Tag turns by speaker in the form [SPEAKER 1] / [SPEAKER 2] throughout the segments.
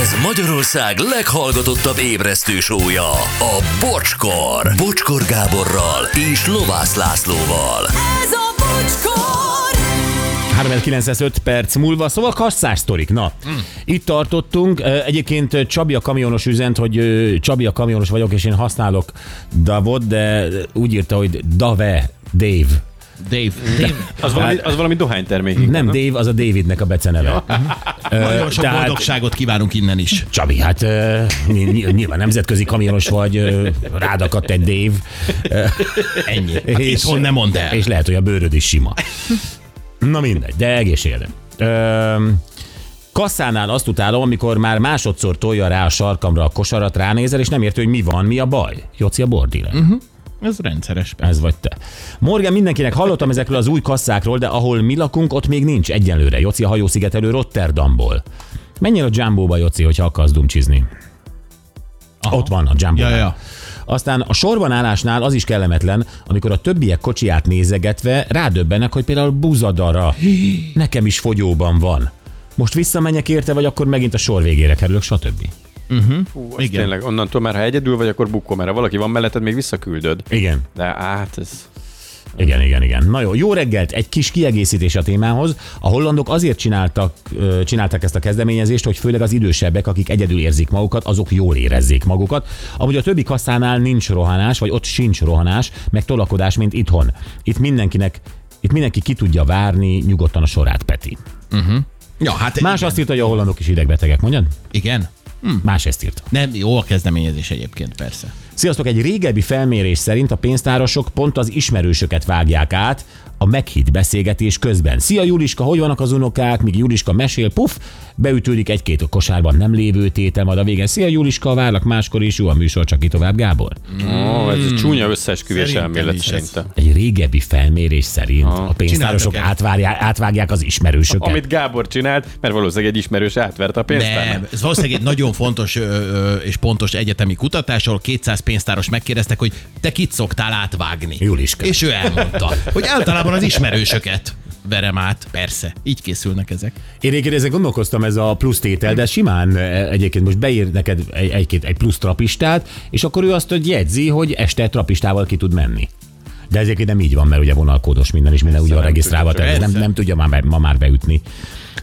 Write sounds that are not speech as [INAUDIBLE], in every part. [SPEAKER 1] Ez Magyarország leghallgatottabb ébresztő sója, a Bocskor. Bocskor Gáborral és Lovász Lászlóval.
[SPEAKER 2] Ez a bocskor!
[SPEAKER 3] 3905 perc múlva, szóval kasszás sztorik. Na,
[SPEAKER 4] Hmm.
[SPEAKER 3] itt tartottunk. Ö, Egyébként Csabi a kamionos üzent, hogy ö, Csabi a kamionos vagyok, és én használok Davot, de úgy írta, hogy Dave, Dave.
[SPEAKER 4] Dave.
[SPEAKER 5] Az valami, az valami dohánytermék.
[SPEAKER 4] Hm,
[SPEAKER 3] Nem Dave, az a Davidnek a beceneve. Mhm. Ö,
[SPEAKER 4] [LAUGHS] Nagyon sok
[SPEAKER 3] tehát-
[SPEAKER 4] boldogságot kívánunk innen is.
[SPEAKER 3] Csabi, hát ö, ny- ny- nyilván nemzetközi kamionos vagy, ö, rád akadt egy Dave. Ö, Ennyi. Hát
[SPEAKER 4] itthon nem mondd el.
[SPEAKER 3] És lehet, hogy a bőröd is sima. Na mindegy, de egészségedre. Öm, Kasszánál azt utálom, amikor már másodszor tolja rá a sarkamra a kosarat, ránézel, és nem érti, hogy mi van, mi a baj. Joci a bordile.
[SPEAKER 4] Mhm. Ez rendszeres.
[SPEAKER 3] Ez vagy te. Morgan, mindenkinek hallottam ezekről az új kasszákról, de ahol mi lakunk, ott még nincs egyenlőre. Joci a hajószigetelő Rotterdamból. Menjél a Jumbo-ba, Joci, hogyha akarsz dumcsizni. Aha. Ott van a Jumbo.
[SPEAKER 4] Ja, ja.
[SPEAKER 3] Aztán a sorban állásnál az is kellemetlen, amikor a többiek kocsiját nézegetve rádöbbenek, hogy például buzadara nekem is fogyóban van. Most visszamenjek érte, vagy akkor megint a sor végére kerülök, stb.
[SPEAKER 5] Hú, az Tényleg, onnantól már, ha egyedül vagy, akkor bukkó, mert ha valaki van melletted, még visszaküldöd.
[SPEAKER 3] Igen.
[SPEAKER 5] De hát ez...
[SPEAKER 3] Igen, igen, igen. Na jó, jó reggelt, egy kis kiegészítés a témához. A hollandok azért csináltak, ö, csinálták ezt a kezdeményezést, hogy főleg az idősebbek, akik egyedül érzik magukat, azok jól érezzék magukat. Amúgy a többi kasszánál nincs rohanás, vagy ott sincs rohanás, meg tolakodás, mint itthon. Itt mindenkinek itt mindenki ki tudja várni nyugodtan a sorát, Peti.
[SPEAKER 4] Ja, hát
[SPEAKER 3] Más
[SPEAKER 4] igen.
[SPEAKER 3] azt írta, hogy a hollandok is idegbetegek, mondjad?
[SPEAKER 4] igen.
[SPEAKER 3] Más ezt írta.
[SPEAKER 4] Nem, jó a kezdeményezés egyébként, persze.
[SPEAKER 3] Sziasztok, egy régebbi felmérés szerint a pénztárosok pont az ismerősöket vágják át a meghitt beszélgetés közben. Szia Juliska, hogy vannak az unokák? Míg Juliska mesél, puf, beütődik egy-két a kosárban nem lévő tétel, majd a vége. Szia Juliska, várlak máskor is, jó a műsor, csak ki tovább, Gábor.
[SPEAKER 5] Ó, ez egy csúnya összeesküvés
[SPEAKER 4] Hmm. Szerintem
[SPEAKER 5] elmélet
[SPEAKER 4] is ez.
[SPEAKER 5] szerintem.
[SPEAKER 3] Egy régebbi felmérés szerint a pénztárosok
[SPEAKER 4] Csináltak el.
[SPEAKER 3] átvárják, átvárják az ismerősöket.
[SPEAKER 5] Hát, Amit Gábor csinált, mert valószínűleg egy ismerős átvert a pénztárnát.
[SPEAKER 4] Nem, ez valószínűleg egy nagyon fontos ö, ö, és pontos egyetemi kutatás, ahol 200 pénztáros megkérdeztek, hogy te kit szoktál átvágni.
[SPEAKER 3] Juliska.
[SPEAKER 4] És ő elmondta, hogy általában az ismerősöket verem át. Persze, így készülnek ezek.
[SPEAKER 3] Én egyébként ezen gondolkoztam ez a plusz tétel, de simán eh, egyébként most beír neked egy, egy, egy plusz trapistát, és akkor ő azt hogy jegyzi, hogy este trapistával ki tud menni. De egyébként nem így van, mert ugye vonalkódos minden, és minden úgy van
[SPEAKER 5] nem
[SPEAKER 3] regisztrálva,
[SPEAKER 5] tudja,
[SPEAKER 3] tehát ez nem,
[SPEAKER 4] persze.
[SPEAKER 3] nem tudja már, be- ma már beütni.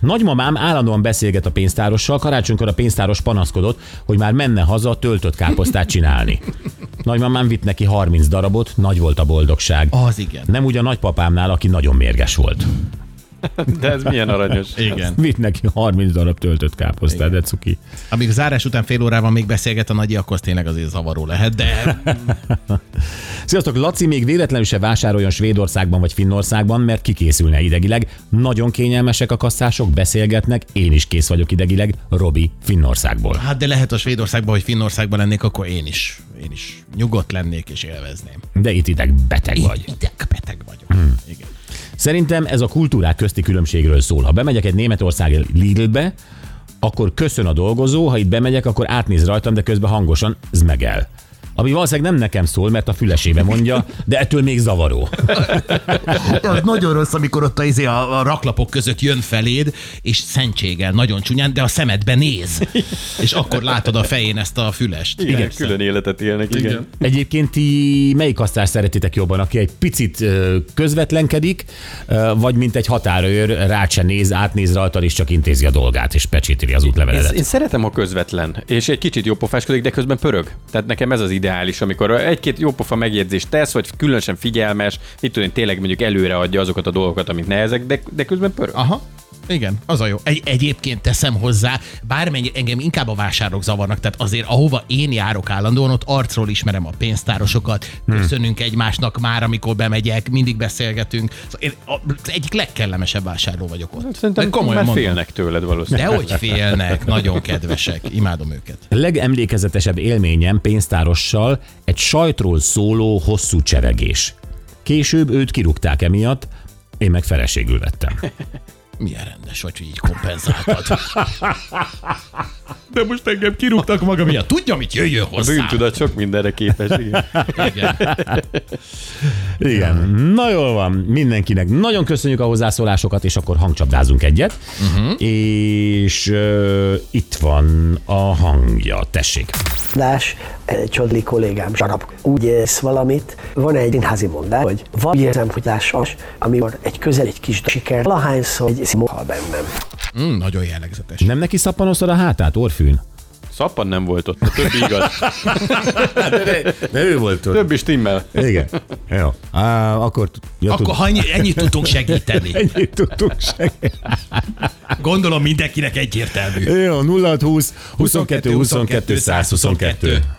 [SPEAKER 3] Nagymamám állandóan beszélget a pénztárossal, karácsonykor a pénztáros panaszkodott, hogy már menne haza töltött káposztát csinálni. Nagymamám vitt neki 30 darabot, nagy volt a boldogság.
[SPEAKER 4] Az igen.
[SPEAKER 3] Nem úgy a nagypapámnál, aki nagyon mérges volt.
[SPEAKER 5] De ez milyen aranyos.
[SPEAKER 4] Igen.
[SPEAKER 3] Vitt neki 30 darab töltött káposztát, de cuki.
[SPEAKER 4] Amíg zárás után fél órában még beszélget a nagyi, akkor az tényleg azért zavaró lehet, de
[SPEAKER 3] Sziasztok, Laci még véletlenül se vásároljon Svédországban vagy Finnországban, mert kikészülne idegileg. Nagyon kényelmesek a kasszások, beszélgetnek, én is kész vagyok idegileg, Robi Finnországból.
[SPEAKER 4] hát de lehet a Svédországban, hogy Finnországban lennék, akkor én is, én is nyugodt lennék és élvezném.
[SPEAKER 3] De itt ideg beteg vagy.
[SPEAKER 4] Vagy ideg beteg vagyok. Hmm. Igen.
[SPEAKER 3] Szerintem ez a kultúrák közti különbségről szól. Ha bemegyek egy Németország Lidlbe, akkor köszön a dolgozó, ha itt bemegyek, akkor átnéz rajtam, de közben hangosan zmegel. Ami valószínűleg nem nekem szól, mert a fülesébe mondja, de ettől még zavaró.
[SPEAKER 4] Hát, Az nagyon rossz, amikor ott a, izé a, a raklapok között jön feléd, és szentséggel nagyon csúnyán, de a szemedbe [LAUGHS] néz. És akkor látod a fején ezt a fülest.
[SPEAKER 5] Igen, külön életet élnek, igen. igen.
[SPEAKER 3] Egyébként ti melyik asztást szeretitek jobban, aki egy picit ö, közvetlenkedik, ö, vagy mint egy határőr, rád se néz, átnéz rajtad, és csak intézi a dolgát, és pecsételi az
[SPEAKER 5] Én,
[SPEAKER 3] útleveledet.
[SPEAKER 5] én szeretem, ha közvetlen, és egy kicsit jópofáskodik, de közben pörög. Tehát nekem ez az ideális, amikor egy-két jópofa megjegyzést tesz, vagy különösen figyelmes, mit tudom én, tényleg mondjuk előre adja azokat a dolgokat, amik nehezek, de, de közben pörög.
[SPEAKER 4] Aha. Igen, az a jó. Egy, egyébként teszem hozzá, bármennyi engem inkább a vásárok zavarnak, tehát azért ahova én járok állandóan, ott arcról ismerem a pénztárosokat,
[SPEAKER 5] Hm.
[SPEAKER 4] köszönünk egymásnak már, amikor bemegyek, mindig beszélgetünk. Szóval én a- az egyik legkellemesebb vásárló vagyok ott.
[SPEAKER 5] Hát Szerintem
[SPEAKER 4] De komolyan
[SPEAKER 5] már
[SPEAKER 4] mondom.
[SPEAKER 5] félnek [LAUGHS] tőled valószínűleg.
[SPEAKER 4] De hogy félnek, nagyon kedvesek, imádom őket.
[SPEAKER 3] Legemlékezetesebb élményem pénztárossal egy sajtról szóló hosszú cseregés. Később őt kirúgták emiatt, én meg feleségül vettem.
[SPEAKER 5] [LAUGHS]
[SPEAKER 4] Milyen rendes vagy, hogy így kompenzáltad. te most engem kirúgtak maga miatt. Tudja, mit jöjjön hozzá.
[SPEAKER 5] Bűntudat sok mindenre képes. Igen.
[SPEAKER 4] Igen.
[SPEAKER 3] Igen. Na jól van, mindenkinek. Nagyon köszönjük a hozzászólásokat, és akkor hangcsapdázunk egyet. Uh-huh. És uh, itt van a hangja, tessék.
[SPEAKER 6] Lás, egy csodli kollégám, zsarab, úgy érsz valamit. Van egy színházi mondás, hogy van érzem, hogy lássas, amikor egy közel egy kis siker, lahányszor egy szimó hal bennem.
[SPEAKER 4] Mm, nagyon jellegzetes.
[SPEAKER 3] Nem neki szappanoztad a hátát, orfűn?
[SPEAKER 5] Szappan nem volt ott, a többi igaz.
[SPEAKER 3] De ő volt ott.
[SPEAKER 5] Többi stimmel.
[SPEAKER 3] Igen. Jó. Á, akkor... t- Ja,
[SPEAKER 4] Akkor ha ennyi, ennyit tudtunk segíteni.
[SPEAKER 3] tud- Ennyit tudtunk segíteni.
[SPEAKER 4] Gondolom mindenkinek egyértelmű.
[SPEAKER 3] Jó, 0620 22 22 122.